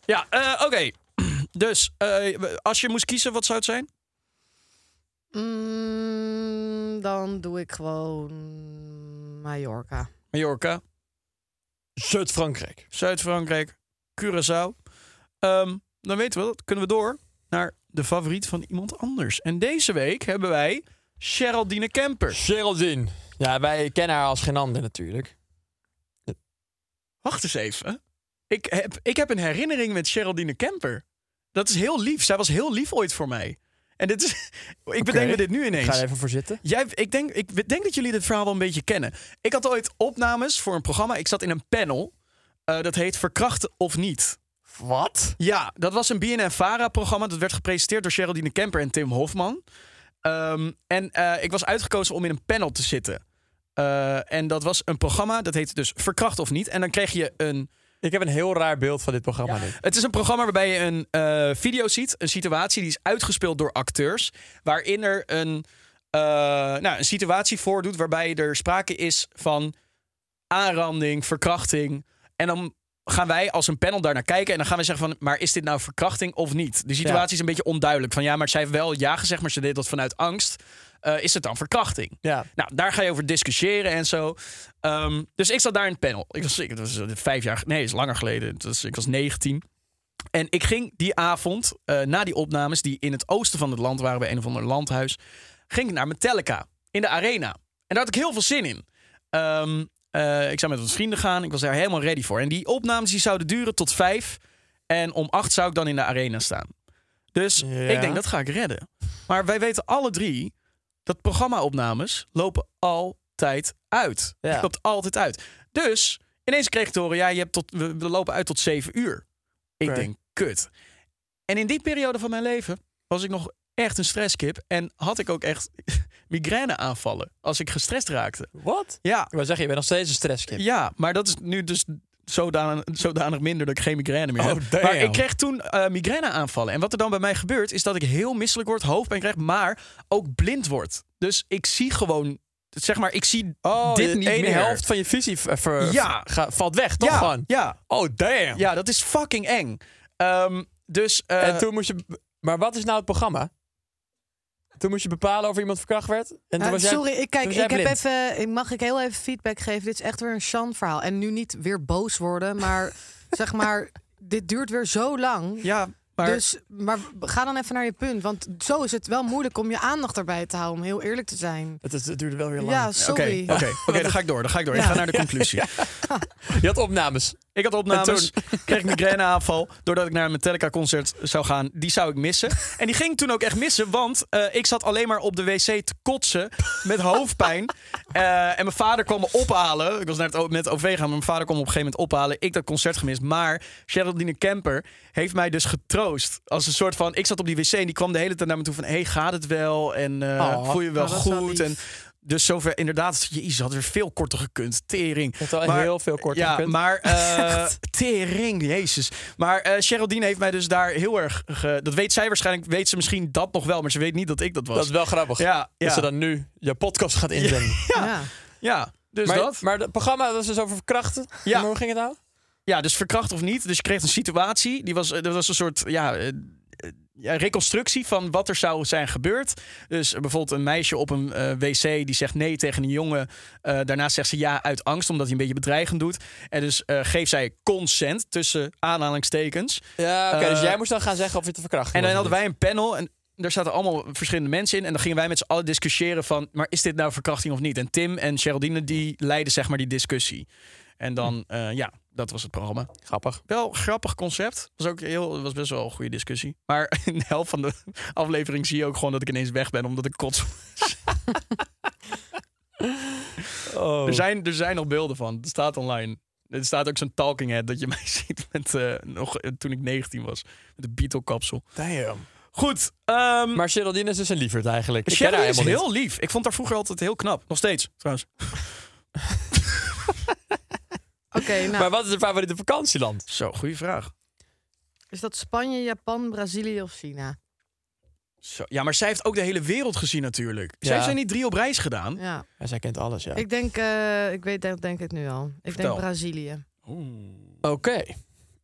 Speaker 2: Ja, eh, oké. [clears throat] Dus eh, als je moest kiezen, wat zou het zijn?
Speaker 3: Mm, dan doe ik gewoon Mallorca.
Speaker 2: Mallorca,
Speaker 1: Zuid-Frankrijk.
Speaker 2: Zuid-Frankrijk, Curaçao. Ehm, dan weten we dat. Kunnen we door naar de favoriet van iemand anders. En deze week hebben wij Geraldine Kemper.
Speaker 1: Geraldine. Ja, wij kennen haar als geen ander natuurlijk.
Speaker 2: Wacht eens even. Ik heb, ik heb een herinnering met Geraldine Kemper. Dat is heel lief. Zij was heel lief ooit voor mij. En dit is, [laughs] ik bedenk me dit
Speaker 1: Ik
Speaker 2: nu
Speaker 1: ga
Speaker 2: ineens.
Speaker 1: er even voor zitten.
Speaker 2: Jij, ik, denk, ik denk dat jullie dit verhaal wel een beetje kennen. Ik had ooit opnames voor een programma. Ik zat in een panel. Eh, dat heet Verkrachten of Niet.
Speaker 1: Wat?
Speaker 2: Ja, dat was een BNN-Vara-programma. Dat werd gepresenteerd door Geraldine Kemper en Tim Hofman. Ehm, en eh, ik was uitgekozen om in een panel te zitten. Eh, en dat was een programma, dat heet dus Verkracht of Niet. En dan kreeg je een
Speaker 1: Ik heb een heel raar beeld van dit programma. denk ik.
Speaker 2: het is een programma waarbij je een eh, video ziet. Een situatie die is uitgespeeld door acteurs. Waarin er een, eh, nou, een situatie voordoet waarbij er sprake is van aanranding, verkrachting. En dan gaan wij als een panel daarnaar kijken. En dan gaan we zeggen van, maar is dit nou verkrachting of niet? Die situatie
Speaker 1: Ja.
Speaker 2: is een beetje onduidelijk. Van ja, maar zij heeft wel ja gezegd, maar ze deed dat vanuit angst. Eh, is het dan verkrachting?
Speaker 1: Ja.
Speaker 2: Nou, daar ga je over discussiëren en zo. Ehm, dus ik zat daar in het panel. Ik was, ik, dat was eh, vijf jaar, nee, dat is langer geleden. Het was, ik was 19. En ik ging die avond, eh, na die opnames die in het oosten van het land waren, bij een of ander landhuis, ging ik naar Metallica in de arena. En daar had ik heel veel zin in. Ehm, eh, ik zou met wat vrienden gaan. Ik was daar helemaal ready voor. En die opnames die zouden duren tot vijf. En om acht zou ik dan in de arena staan. Dus
Speaker 1: Ja.
Speaker 2: ik denk, dat ga ik redden. Maar wij weten alle drie dat programma-opnames lopen altijd uit.
Speaker 1: Ja.
Speaker 2: Het loopt altijd uit. Dus ineens kreeg ik te horen, ja, je hebt tot, we, we lopen uit tot zeven uur. Ik
Speaker 1: Oké.
Speaker 2: denk, kut. En in die periode van mijn leven was ik nog echt een stresskip. En had ik ook echt [laughs] migraineaanvallen als ik gestrest raakte.
Speaker 1: Wat?
Speaker 2: Ja,
Speaker 1: Ik wil zeggen, je bent nog steeds een stresskip.
Speaker 2: ja, maar dat is nu dus zodanig, zodanig minder dat ik geen migraine meer
Speaker 1: Oh,
Speaker 2: heb.
Speaker 1: damn.
Speaker 2: Maar ik kreeg toen eh migraineaanvallen. En wat er dan bij mij gebeurt, is dat ik heel misselijk word, hoofdpijn krijg, maar ook blind word. Dus ik zie gewoon, zeg maar, ik zie dit
Speaker 1: Oh, de
Speaker 2: niet
Speaker 1: ene
Speaker 2: meer.
Speaker 1: helft van je visie v- ver-
Speaker 2: Ja.
Speaker 1: ga- valt weg, toch
Speaker 2: ja,
Speaker 1: gewoon?
Speaker 2: Ja,
Speaker 1: Oh, damn.
Speaker 2: ja, dat is fucking eng. Ehm, dus, eh,
Speaker 1: En toen moest je... Maar wat is nou het programma? Toen moest je bepalen of iemand verkracht werd. En toen
Speaker 3: Eh,
Speaker 1: was jij...
Speaker 3: sorry, ik, kijk,
Speaker 1: was jij
Speaker 3: ik heb
Speaker 1: blind.
Speaker 3: even, ik- mag ik heel even feedback geven? Dit is echt weer een
Speaker 1: [laughs]
Speaker 3: Sjan-verhaal. En nu niet weer boos worden, maar zeg maar, dit duurt weer zo lang.
Speaker 2: ja, Maar
Speaker 3: Dus, maar ga dan even naar je punt. Want zo is het wel moeilijk om je aandacht erbij te houden, om heel eerlijk te zijn.
Speaker 1: Het, is- het duurde wel weer lang.
Speaker 3: Ja,
Speaker 2: oké,
Speaker 3: sorry.
Speaker 2: oké,
Speaker 1: [laughs]
Speaker 2: oké, dan ga ik door. Dan ga ik door. Ik
Speaker 3: Ja.
Speaker 2: ga naar de conclusie.
Speaker 1: Je had opnames.
Speaker 2: Ik had opnames, [laughs] kreeg een migraineaanval doordat ik naar een Metallica concert zou gaan. Die zou ik missen. En die ging ik toen ook echt missen, want eh, ik zat alleen maar op de wc te kotsen met
Speaker 3: [laughs]
Speaker 2: hoofdpijn. Eh, en mijn vader kwam me ophalen. Ik was naar het, O- met het OV gaan, maar mijn vader kwam me op een gegeven moment ophalen. Ik dat concert gemist, maar Geraldine Kemper heeft mij dus getroost. Als een soort van, ik zat op die wc en die kwam de hele tijd naar me toe van... hey, gaat het wel? En eh,
Speaker 1: Oh,
Speaker 2: voel je je wel
Speaker 3: nou, dat is wel
Speaker 2: goed?
Speaker 3: lief.
Speaker 2: en dus zover, inderdaad, jezus, had er veel korter gekund. Tering.
Speaker 1: Je had al
Speaker 2: Maar-
Speaker 1: heel veel korter
Speaker 2: Ja,
Speaker 1: gekund.
Speaker 2: maar eh, tering, jezus. Maar eh Geraldine heeft mij dus daar heel erg. ge- dat weet zij waarschijnlijk, weet ze misschien dat nog wel, maar ze weet niet dat ik dat was.
Speaker 1: Dat is wel grappig.
Speaker 2: ja, ja,
Speaker 1: Dat ze dan nu je podcast gaat inzenden.
Speaker 3: [laughs] Ja.
Speaker 2: ja. Dus
Speaker 1: maar,
Speaker 2: dat.
Speaker 1: maar het programma was dus over verkrachten.
Speaker 2: Ja.
Speaker 1: Maar hoe ging het nou?
Speaker 2: Ja, dus verkracht of niet. Dus je kreeg een situatie. Die was, eh, dat was een soort ja, eh, eh, ja, reconstructie van wat er zou zijn gebeurd. Dus eh, bijvoorbeeld een meisje op een eh, wc die zegt nee tegen een jongen. Eh, daarna zegt ze ja uit angst, omdat hij een beetje bedreigend doet. En dus eh, geeft zij consent tussen aanhalingstekens.
Speaker 1: Ja, oké. dus
Speaker 2: Eh,
Speaker 1: jij moest dan gaan zeggen of je te verkrachten
Speaker 2: En dan
Speaker 1: was
Speaker 2: hadden
Speaker 1: of
Speaker 2: wij een panel en daar zaten allemaal verschillende mensen in. En dan gingen wij met z'n allen discussiëren van... maar is dit nou verkrachting of niet? En Tim en Geraldine die leidden zeg maar die discussie. En dan, eh, ja, dat was het programma.
Speaker 1: niet. Grappig.
Speaker 2: Wel grappig concept. Was ook heel, was best wel een goede discussie. Maar [laughs] in de helft van de aflevering zie je ook gewoon dat ik ineens weg ben... omdat ik kots.
Speaker 1: Oh.
Speaker 2: Er, zijn, er zijn nog beelden van. Het staat online. Er staat ook zo'n talking head dat je [laughs] mij ziet met, eh, nog, eh, toen ik 19 was. Met een Beatle-kapsel. Goed, ehm,
Speaker 1: Maar Geraldine is dus een lieverd eigenlijk. Ik ken haar
Speaker 2: Sherry is
Speaker 1: helemaal niet.
Speaker 2: heel lief. Ik vond haar vroeger altijd heel knap. Nog steeds, trouwens.
Speaker 3: Oké, nou,
Speaker 1: Maar wat is je favoriete vakantieland?
Speaker 2: Zo, goede vraag.
Speaker 3: is dat Spanje, Japan, Brazilië of China?
Speaker 2: Zo. Ja, maar zij heeft ook de hele wereld gezien natuurlijk.
Speaker 1: Ja.
Speaker 2: Zij heeft zij niet drie op reis gedaan.
Speaker 3: Ja,
Speaker 1: Ja, zij kent alles, ja.
Speaker 3: ik denk, eh, ik weet denk, denk het nu al. Ik
Speaker 2: Vertel.
Speaker 3: denk Brazilië.
Speaker 1: Oké.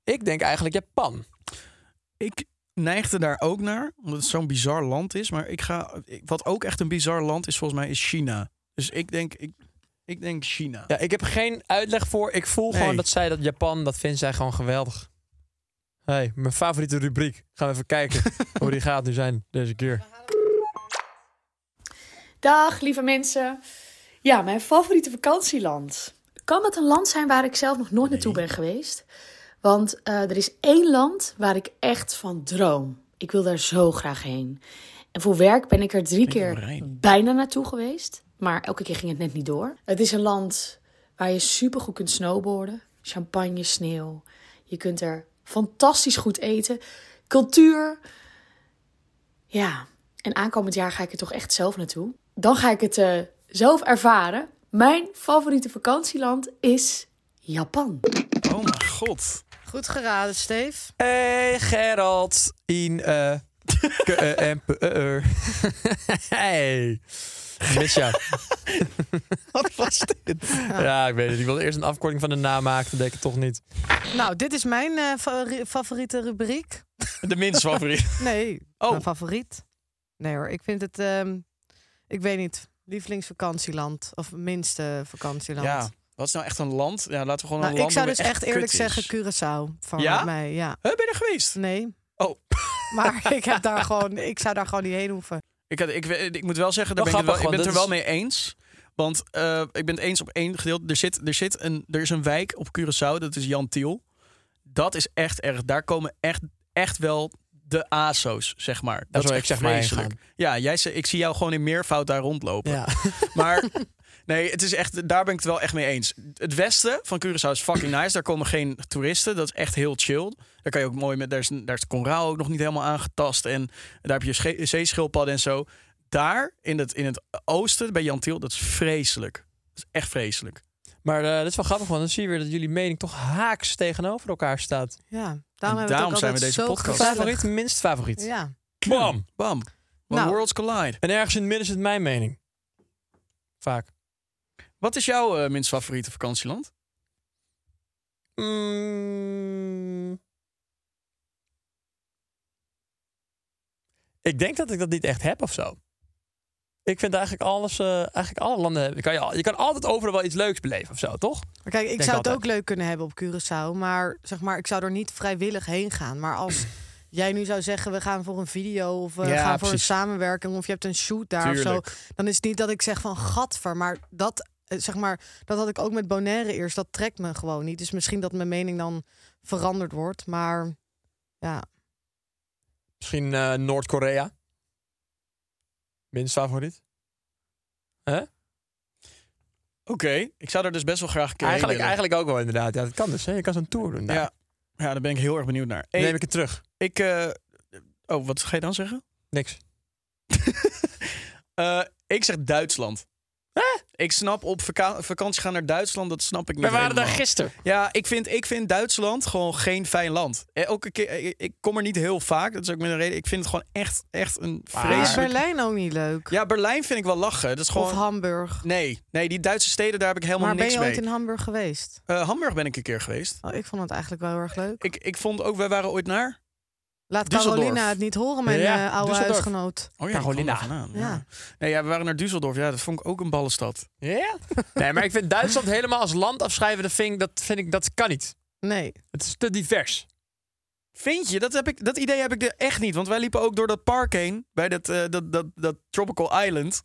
Speaker 1: Ik denk eigenlijk Japan.
Speaker 2: Ik neigde daar ook naar, omdat het zo'n bizar land is. Maar ik ga, ik- wat ook echt een bizar land is volgens mij, is China. Dus ik denk, ik, ik denk China.
Speaker 1: Ja, ik heb geen uitleg voor. Ik voel
Speaker 2: Nee.
Speaker 1: gewoon dat zij dat Japan, dat vindt zij gewoon geweldig. hey, mijn favoriete rubriek. Gaan we even [laughs] kijken hoe die gaat nu zijn deze keer.
Speaker 5: Dag lieve mensen. Ja, mijn favoriete vakantieland. Kan het een land zijn waar ik zelf nog nooit naartoe ben geweest? Want eh, er is één land waar ik echt van droom. Ik wil daar zo graag heen. En voor werk ben ik er drie
Speaker 2: aan de
Speaker 5: keer
Speaker 2: Rijn.
Speaker 5: bijna naartoe geweest. Maar elke keer ging het net niet door. Het is een land waar je supergoed kunt snowboarden. Champagne, sneeuw. Je kunt er fantastisch goed eten. Cultuur. Ja, en aankomend jaar ga ik er toch echt zelf naartoe. Dan ga ik het eh, zelf ervaren. Mijn favoriete vakantieland is Japan.
Speaker 2: Oh mijn god.
Speaker 3: Goed geraden, Steef.
Speaker 1: Hey Gerald in
Speaker 2: [laughs]
Speaker 1: eh ke- eh, en pe- eh, eh. Hey. Ik Mis jou.
Speaker 2: [laughs] Wat was dit?
Speaker 1: Ja, ik weet het. Ik wilde eerst een afkorting van de naam maken. Dat deed ik het toch niet.
Speaker 3: Nou, dit is mijn eh, favori- favoriete rubriek.
Speaker 2: De minst favoriet.
Speaker 3: Nee,
Speaker 2: Oh.
Speaker 3: mijn favoriet. Nee hoor, ik vind het, ehm, ik weet niet, lievelingsvakantieland of minste vakantieland.
Speaker 2: Ja, wat is nou echt een land? Ja, laten we gewoon
Speaker 3: Nou,
Speaker 2: een land
Speaker 3: ik zou
Speaker 2: noemen
Speaker 3: dus echt
Speaker 2: kut
Speaker 3: eerlijk
Speaker 2: is.
Speaker 3: zeggen Curaçao van
Speaker 2: Ja?
Speaker 3: mij. Ja,
Speaker 2: Huh, ben je er geweest?
Speaker 3: nee.
Speaker 2: Oh. [laughs]
Speaker 3: Maar ik, heb daar gewoon, ik zou daar gewoon niet heen hoeven.
Speaker 2: Ik, had- ik, we- ik moet wel zeggen, daar
Speaker 1: Wel
Speaker 2: ben ik, het wel, ik
Speaker 1: grappig,
Speaker 2: ben het er wel
Speaker 1: want
Speaker 2: mee eens. Want eh, ik ben het eens op één gedeelte. Er, zit, er, zit een, er is een wijk op Curaçao, dat is Jan Tiel. Dat is echt erg. Daar komen echt, echt wel de ASO's, zeg maar.
Speaker 1: Daar
Speaker 2: is
Speaker 1: zou ik
Speaker 2: echt
Speaker 1: zeg maar heen
Speaker 2: vreselijk. Ja, jij, ze- ik zie jou gewoon in meervoud daar rondlopen.
Speaker 1: Ja.
Speaker 3: [laughs]
Speaker 2: Maar nee, het is echt, daar ben ik het wel echt mee eens. Het westen van Curaçao is fucking nice. Daar komen geen toeristen. Dat is echt heel chill. Daar kan je ook mooi met, daar is, daar is de Conrail ook nog niet helemaal aangetast. En daar heb je sche- zeeschildpadden en zo. Daar in het, in het oosten, bij Jan Tiel, dat is vreselijk. Dat is echt vreselijk.
Speaker 1: Maar eh dat is wel grappig, want dan zie je weer dat jullie mening toch haaks tegenover elkaar staat.
Speaker 3: Ja, daarom,
Speaker 2: daarom
Speaker 3: hebben we het
Speaker 2: zijn
Speaker 3: ook
Speaker 2: we
Speaker 3: altijd
Speaker 2: deze
Speaker 3: zo
Speaker 2: podcast.
Speaker 3: gezellig.
Speaker 1: Favoriet, minst favoriet.
Speaker 3: Ja.
Speaker 1: Bam!
Speaker 2: Bam. When
Speaker 3: Nou.
Speaker 2: worlds collide.
Speaker 1: En ergens in het midden zit mijn mening. Vaak.
Speaker 2: Wat is jouw eh, minst favoriete vakantieland?
Speaker 1: Mm. Ik denk dat ik dat niet echt heb of zo. Ik vind eigenlijk alles, eh, eigenlijk alle landen hebben. Kan je, al- je kan altijd overal wel iets leuks beleven of zo, toch?
Speaker 3: Maar kijk, ik
Speaker 1: Denk
Speaker 3: zou het
Speaker 1: altijd.
Speaker 2: [clears throat]
Speaker 3: ook leuk kunnen hebben op Curaçao. Maar zeg maar, ik zou er niet vrijwillig heen gaan. Maar als jij nu zou zeggen, we gaan voor een video of we
Speaker 2: Ja,
Speaker 3: gaan voor
Speaker 2: precies.
Speaker 3: een samenwerking of je hebt een shoot daar of zo. Dan is het niet dat ik zeg van gadver, maar dat eh, zeg maar, dat had ik ook met Bonaire eerst. Dat trekt me gewoon niet. Dus misschien dat mijn mening dan veranderd wordt, maar ja,
Speaker 1: Misschien eh, Noord-Korea. Minst favoriet.
Speaker 2: Oké, ik zou er dus best wel graag een keer
Speaker 1: Eigenlijk,
Speaker 2: heen willen.
Speaker 1: eigenlijk ook wel inderdaad. Ja, dat kan dus. Hè? Je kan zo'n tour doen. daar.
Speaker 2: Ja. Ja, daar ben ik heel erg benieuwd naar.
Speaker 1: Dan
Speaker 2: Hey,
Speaker 1: neem ik het terug.
Speaker 2: ik, eh, oh, wat ga je dan zeggen?
Speaker 1: Niks.
Speaker 2: Eh, ik zeg Duitsland. Ik snap op vaka- vakantie gaan naar Duitsland, dat snap ik niet.
Speaker 1: We waren daar
Speaker 2: helemaal.
Speaker 1: gisteren.
Speaker 2: Ja, ik vind, ik vind Duitsland gewoon geen fijn land. Eh, Ook een keer, eh, ik kom er niet heel vaak, dat is ook met een reden. Ik vind het gewoon echt, echt een
Speaker 1: Maar-
Speaker 3: is
Speaker 2: vreselijk...
Speaker 3: Berlijn ook niet leuk.
Speaker 2: Ja, Berlijn vind ik wel lachen. Dat is
Speaker 3: Of
Speaker 2: gewoon...
Speaker 3: Hamburg.
Speaker 2: nee, nee, die Duitse steden, daar heb ik helemaal
Speaker 3: Maar ben
Speaker 2: niks
Speaker 3: je
Speaker 2: mee.
Speaker 3: ooit in Hamburg geweest?
Speaker 2: Eh, Hamburg ben ik een keer geweest.
Speaker 3: Oh, ik vond het eigenlijk wel heel erg leuk.
Speaker 2: Ik, ik vond ook, wij waren ooit naar...
Speaker 3: Laat
Speaker 2: Düsseldorf.
Speaker 3: Carolina het niet horen, mijn
Speaker 1: Ja,
Speaker 3: eh, oude
Speaker 1: Düsseldorf.
Speaker 3: huisgenoot.
Speaker 2: Oh ja,
Speaker 1: Carolina.
Speaker 2: Aan, ja.
Speaker 3: Ja.
Speaker 2: Nee, ja, we waren naar Düsseldorf. Ja, dat vond ik ook een ballenstad.
Speaker 1: Ja? Nee, maar ik vind Duitsland helemaal als land afschrijven, dat vind ik, dat, vind ik, dat kan niet.
Speaker 3: Nee.
Speaker 1: Het is te divers.
Speaker 2: Vind je? Dat, heb ik, dat idee heb ik er echt niet. Want wij liepen ook door dat park heen. Bij dat, eh, dat, dat, dat Tropical Island.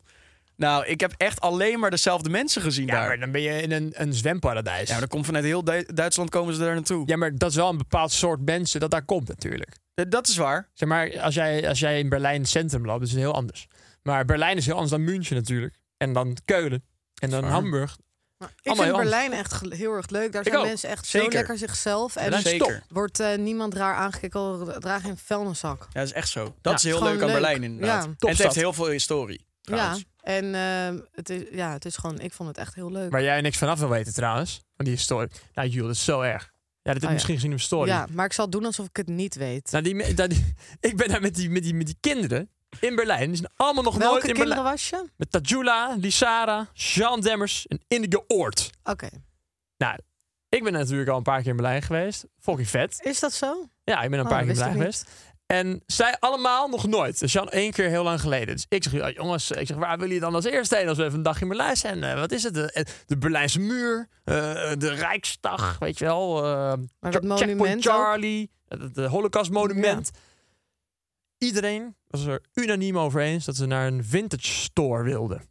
Speaker 2: Nou, ik heb echt alleen maar dezelfde mensen gezien
Speaker 1: Ja,
Speaker 2: daar.
Speaker 1: maar dan ben je in een, een zwemparadijs.
Speaker 2: Ja, maar dat komt vanuit heel Du- Duitsland komen ze daar naartoe.
Speaker 1: dat is wel een bepaald soort mensen dat daar komt natuurlijk.
Speaker 2: Eh, Dat is waar.
Speaker 1: Zeg maar, als jij, als jij in Berlijn het centrum loopt, is het heel anders. Maar Berlijn is heel anders dan München natuurlijk. En dan Keulen. En dan
Speaker 2: Waar.
Speaker 1: Hamburg.
Speaker 3: Nou, ik
Speaker 1: Allemaal
Speaker 3: vind
Speaker 1: heel
Speaker 3: Berlijn echt gel- heel erg leuk. Daar
Speaker 1: Ik
Speaker 3: zijn
Speaker 1: ook.
Speaker 3: mensen echt
Speaker 2: Zeker.
Speaker 3: zo lekker zichzelf. En
Speaker 2: Berlijn
Speaker 3: er
Speaker 2: is top.
Speaker 3: wordt eh, niemand raar aangekeken. Oh, draag geen vuilniszak.
Speaker 2: Ja, dat is echt zo. Dat
Speaker 1: Ja,
Speaker 2: is heel
Speaker 3: het is
Speaker 2: leuk aan
Speaker 3: gewoon
Speaker 2: Berlijn
Speaker 3: leuk.
Speaker 2: inderdaad.
Speaker 3: Ja.
Speaker 2: En het
Speaker 1: Topstad.
Speaker 2: heeft heel veel historie. trouwens.
Speaker 3: Ja, en ehm, het, is, ja, het is gewoon... Ik vond het echt heel leuk.
Speaker 1: Waar jij niks vanaf wil weten trouwens. Van die story. Nou, Jules, dat is zo erg. Ja, dat heb je
Speaker 3: Oh, ja.
Speaker 1: misschien gezien in mijn story.
Speaker 3: Ja, maar ik zal doen alsof ik het niet weet.
Speaker 1: Nou, die, me- dat- [laughs] die- ik ben daar met die, met die, met die kinderen in Berlijn. Die zijn allemaal nog nooit
Speaker 3: Welke
Speaker 1: in
Speaker 3: kinderen
Speaker 1: Berlijn.
Speaker 3: was je?
Speaker 1: Met Tajula, Lisara, Jean Demmers en Indige Oort.
Speaker 3: Oké.
Speaker 1: Ik ben natuurlijk al een paar keer in Berlijn geweest. Fucking vet.
Speaker 3: Is dat zo?
Speaker 1: Ja, ik ben een
Speaker 3: Oh,
Speaker 1: paar keer in
Speaker 3: wist ik
Speaker 1: Berlijn
Speaker 3: niet.
Speaker 1: geweest. En zij allemaal nog nooit. Dus Jean één keer heel lang geleden. Dus ik zeg, ja, jongens, ik zeg, waar wil je dan als eerste heen als we even een dag in Berlijn zijn? Eh, wat is het? De, de Berlijnse muur, eh, de Rijksdag, weet je wel. eh,
Speaker 3: Maar
Speaker 1: Cha-
Speaker 3: dat monument
Speaker 1: Checkpoint
Speaker 3: ook?
Speaker 1: Charlie, het het Holocaust monument. Iedereen was er unaniem over eens dat ze naar een vintage store wilden.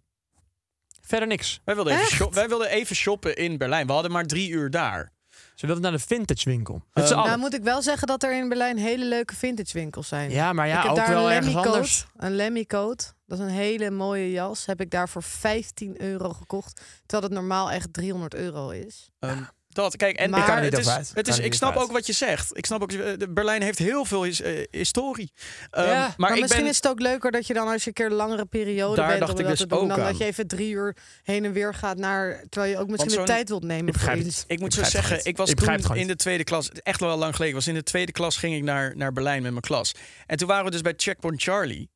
Speaker 1: Verder niks.
Speaker 2: Wij, wilden even
Speaker 3: Echt?
Speaker 2: shop- wij wilden even shoppen in Berlijn. We hadden maar drie uur daar.
Speaker 1: Ze wilden naar de vintage winkel. Met z'n
Speaker 2: Ehm,
Speaker 1: allen.
Speaker 3: Nou moet ik wel zeggen dat er in Berlijn hele leuke vintage winkels zijn.
Speaker 1: ja, maar
Speaker 3: ik
Speaker 1: ja,
Speaker 3: heb
Speaker 1: ook
Speaker 3: daar
Speaker 1: wel
Speaker 3: een
Speaker 1: ergens
Speaker 3: Lemmy
Speaker 1: anders.
Speaker 3: coat. Een Lemmy coat. Dat is een hele mooie jas. Heb ik daar voor 15 euro gekocht. Terwijl het normaal echt 300 euro is.
Speaker 2: Ehm, dat, kijk, en
Speaker 3: Maar- Ik kan er
Speaker 1: niet
Speaker 2: het is,
Speaker 1: over uit. Ik
Speaker 2: Het
Speaker 1: kan
Speaker 2: is,
Speaker 1: er
Speaker 2: ik
Speaker 1: niet
Speaker 2: snap
Speaker 1: over
Speaker 2: ook
Speaker 1: uit.
Speaker 2: wat je zegt. Ik snap ook, eh, de- Berlijn heeft heel veel his- eh, historie. Ehm,
Speaker 1: Ja,
Speaker 2: maar
Speaker 1: maar
Speaker 2: ik
Speaker 3: misschien
Speaker 2: ben,
Speaker 3: is het ook leuker dat je dan als je een keer een langere periode
Speaker 2: Daar
Speaker 3: bent
Speaker 2: dacht
Speaker 3: om
Speaker 2: ik
Speaker 3: dat
Speaker 2: dus
Speaker 3: te doen,
Speaker 2: ook
Speaker 3: dan
Speaker 2: aan.
Speaker 3: dat je even drie uur heen en weer gaat naar, terwijl je ook misschien de
Speaker 2: zo'n-
Speaker 3: tijd wilt nemen.
Speaker 1: Ik begrijp
Speaker 3: voor
Speaker 1: het
Speaker 3: iets.
Speaker 1: niet.
Speaker 2: Ik moet
Speaker 1: Ik
Speaker 2: zo
Speaker 1: begrijp het
Speaker 2: zeggen,
Speaker 1: gewoon
Speaker 2: ik was
Speaker 1: niet. Ik begrijp het
Speaker 2: toen
Speaker 1: gewoon
Speaker 2: in de tweede klas, echt wel lang geleden, ik was in de tweede klas ging ik naar, naar Berlijn met mijn klas. En toen waren we dus bij Checkpoint Charlie.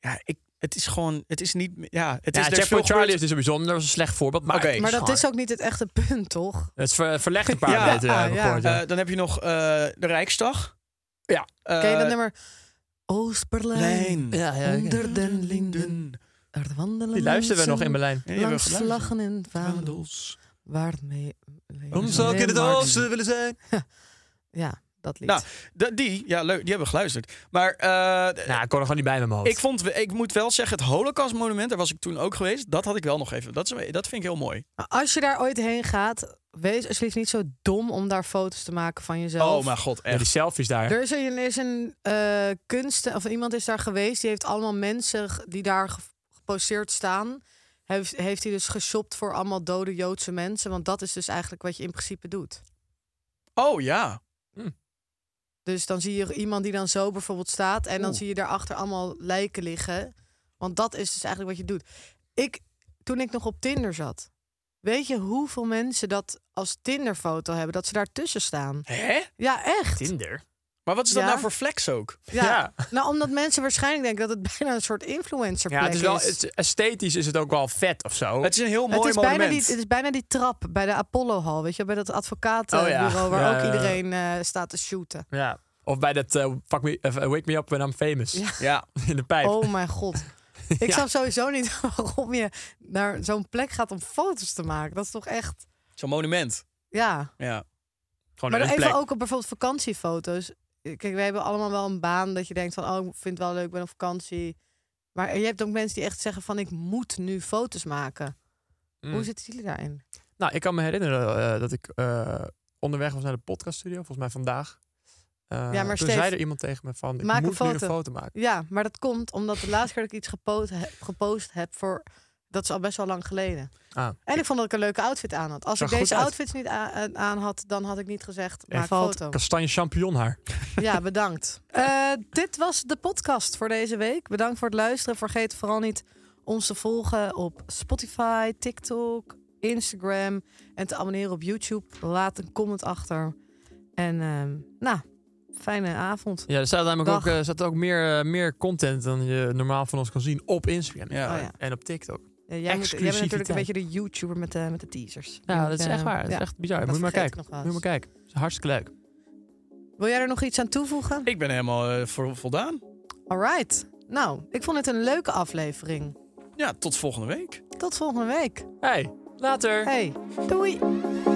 Speaker 2: Ja, ik, het is gewoon, het is niet, ja, het
Speaker 1: Ja,
Speaker 2: is er is veel
Speaker 1: Checkpoint Charlie
Speaker 2: gebeurd.
Speaker 1: is dus een bijzonder, dat was een slecht voorbeeld. Maar,
Speaker 2: Oké.
Speaker 1: het
Speaker 3: Maar dat
Speaker 1: gewoon-
Speaker 3: is ook niet het echte punt, toch?
Speaker 1: Het is ver- verlegd [laughs] een paar
Speaker 2: Ja,
Speaker 1: weken.
Speaker 3: ja,
Speaker 1: heb ik
Speaker 3: Ah, ja.
Speaker 1: gehoord, ja.
Speaker 2: Eh, dan heb je nog eh, de Rijksdag.
Speaker 1: Ja.
Speaker 2: Eh,
Speaker 3: Ken je dat nummer? Oost-Berlijn,
Speaker 2: Berlijn.
Speaker 1: ja, ja.
Speaker 3: onder den linden, er wandelen
Speaker 1: Die luisteren we nog in
Speaker 3: mensen
Speaker 1: Berlijn.
Speaker 2: Ja, die hebben we
Speaker 3: Langs
Speaker 2: geluisterd.
Speaker 3: vlaggen en vaandels,
Speaker 2: Vaandels.
Speaker 3: waar mee...
Speaker 1: Om zou ik in het
Speaker 3: Marx-
Speaker 1: oosten willen zijn.
Speaker 3: Ja, dat lied.
Speaker 2: Nou, De- die, ja, leuk, die hebben we geluisterd. Maar eh,
Speaker 1: Nou, ik kon er gewoon niet bij met mijn hoofd.
Speaker 2: ik vond, we- ik moet wel zeggen, het Holocaust Monument, daar was ik toen ook geweest. Dat had ik wel nog even. Dat, is, dat vind ik heel mooi.
Speaker 3: Maar Als je daar ooit heen gaat, wees alsjeblieft niet zo dom om daar foto's te maken van jezelf.
Speaker 2: Oh mijn god,
Speaker 1: Ja,
Speaker 2: echt.
Speaker 1: die selfies daar.
Speaker 3: Er is een, er is een eh, kunst, of iemand is daar geweest, die heeft allemaal mensen ge- die daar ge- geposeerd staan. Heeft, heeft hij dus geshopt voor allemaal dode Joodse mensen? Want dat is dus eigenlijk wat je in principe doet.
Speaker 2: Oh ja.
Speaker 3: Dus dan zie je iemand die dan zo bijvoorbeeld staat. En dan
Speaker 2: Oeh.
Speaker 3: zie je daarachter allemaal lijken liggen. Want dat is dus eigenlijk wat je doet. Ik, toen ik nog op Tinder zat, weet je hoeveel mensen dat als Tinderfoto hebben? Dat ze daartussen staan.
Speaker 2: Hè?
Speaker 3: Ja, echt.
Speaker 1: Tinder.
Speaker 2: Maar wat is dat
Speaker 3: Ja.
Speaker 2: nou voor flex ook?
Speaker 3: Ja.
Speaker 1: Ja.
Speaker 3: Nou, omdat mensen waarschijnlijk denken dat het [laughs] bijna een soort influencerplek
Speaker 1: Ja, het is wel,
Speaker 3: is.
Speaker 1: het is- esthetisch is het ook wel vet of zo.
Speaker 2: Het is een heel mooi
Speaker 3: het, is
Speaker 2: monument.
Speaker 3: bijna die, het is bijna die trap bij de Apollo-hal, weet je, wel, bij dat advocatenbureau
Speaker 1: Oh ja.
Speaker 3: waar
Speaker 1: Ja,
Speaker 3: ook
Speaker 1: ja, ja.
Speaker 3: iedereen eh, staat te shooten.
Speaker 1: Ja. Of bij dat eh, fuck me, eh, Wake Me Up When I'm Famous. [laughs]
Speaker 3: Ja.
Speaker 2: Ja.
Speaker 1: In de pijp.
Speaker 3: Oh mijn
Speaker 1: [laughs]
Speaker 3: god. Ik
Speaker 1: Ja.
Speaker 3: snap sowieso niet [laughs] waarom je naar zo'n plek gaat om foto's te maken. Dat is toch echt,
Speaker 2: Zo'n monument.
Speaker 3: ja.
Speaker 2: Ja.
Speaker 1: Gewoon
Speaker 3: Maar
Speaker 1: in
Speaker 3: dan
Speaker 1: een
Speaker 3: even
Speaker 1: plek.
Speaker 3: ook op bijvoorbeeld vakantiefoto's. Kijk, wij hebben allemaal wel een baan dat je denkt van... oh, ik vind het wel leuk, ik ben op vakantie. Maar je hebt ook mensen die echt zeggen van... ik moet nu foto's maken.
Speaker 1: Mm.
Speaker 3: Hoe zitten jullie daarin?
Speaker 1: Nou, ik kan me herinneren eh, dat ik eh, onderweg was naar de podcaststudio, volgens mij vandaag. Eh,
Speaker 3: Ja, maar
Speaker 1: toen
Speaker 3: Steef,
Speaker 1: zei er iemand tegen me van, ik
Speaker 3: maak een
Speaker 1: moet nu een
Speaker 3: foto.
Speaker 1: foto maken.
Speaker 3: Ja, maar dat komt omdat de laatste keer dat ik iets gepost heb, gepost heb voor... dat is al best wel lang geleden.
Speaker 1: Ah.
Speaker 3: En ik vond dat ik een leuke outfit aan had. Als
Speaker 1: Zag
Speaker 3: ik
Speaker 1: goed
Speaker 3: deze
Speaker 1: uit.
Speaker 3: outfits niet a- aan had, dan had ik niet gezegd...
Speaker 1: Er
Speaker 3: maak
Speaker 1: valt
Speaker 3: foto.
Speaker 1: kastanje champignonhaar.
Speaker 3: Ja, bedankt. Eh, dit was de podcast voor deze week. Bedankt voor het luisteren. Vergeet vooral niet ons te volgen op Spotify, TikTok, Instagram. En te abonneren op YouTube. Laat een comment achter. En ehm, nou, fijne avond.
Speaker 1: Ja, er staat namelijk
Speaker 3: Dag.
Speaker 1: ook, eh, er staat ook meer, eh, meer content dan je normaal van ons kan zien op Instagram
Speaker 3: Oh ja.
Speaker 1: en op TikTok.
Speaker 3: Ja, jij, moet, jij bent natuurlijk een
Speaker 1: Exclusiviteit.
Speaker 3: beetje de YouTuber met de, met de teasers. Je
Speaker 1: Ja,
Speaker 3: moet,
Speaker 1: dat is
Speaker 3: eh,
Speaker 1: echt waar. Dat
Speaker 3: ja,
Speaker 1: is echt bizar.
Speaker 3: dat
Speaker 1: Moet je maar
Speaker 3: vergeet ik
Speaker 1: kijken.
Speaker 3: nog wel
Speaker 1: Moet je maar
Speaker 3: eens.
Speaker 1: kijken. Het is hartstikke leuk.
Speaker 3: Wil jij er nog iets aan toevoegen?
Speaker 2: Ik ben helemaal eh, vo- voldaan.
Speaker 3: All right. Nou, ik vond het een leuke aflevering.
Speaker 2: Ja, tot volgende week.
Speaker 3: Tot volgende week.
Speaker 1: Hey, later!
Speaker 3: Hey, doei.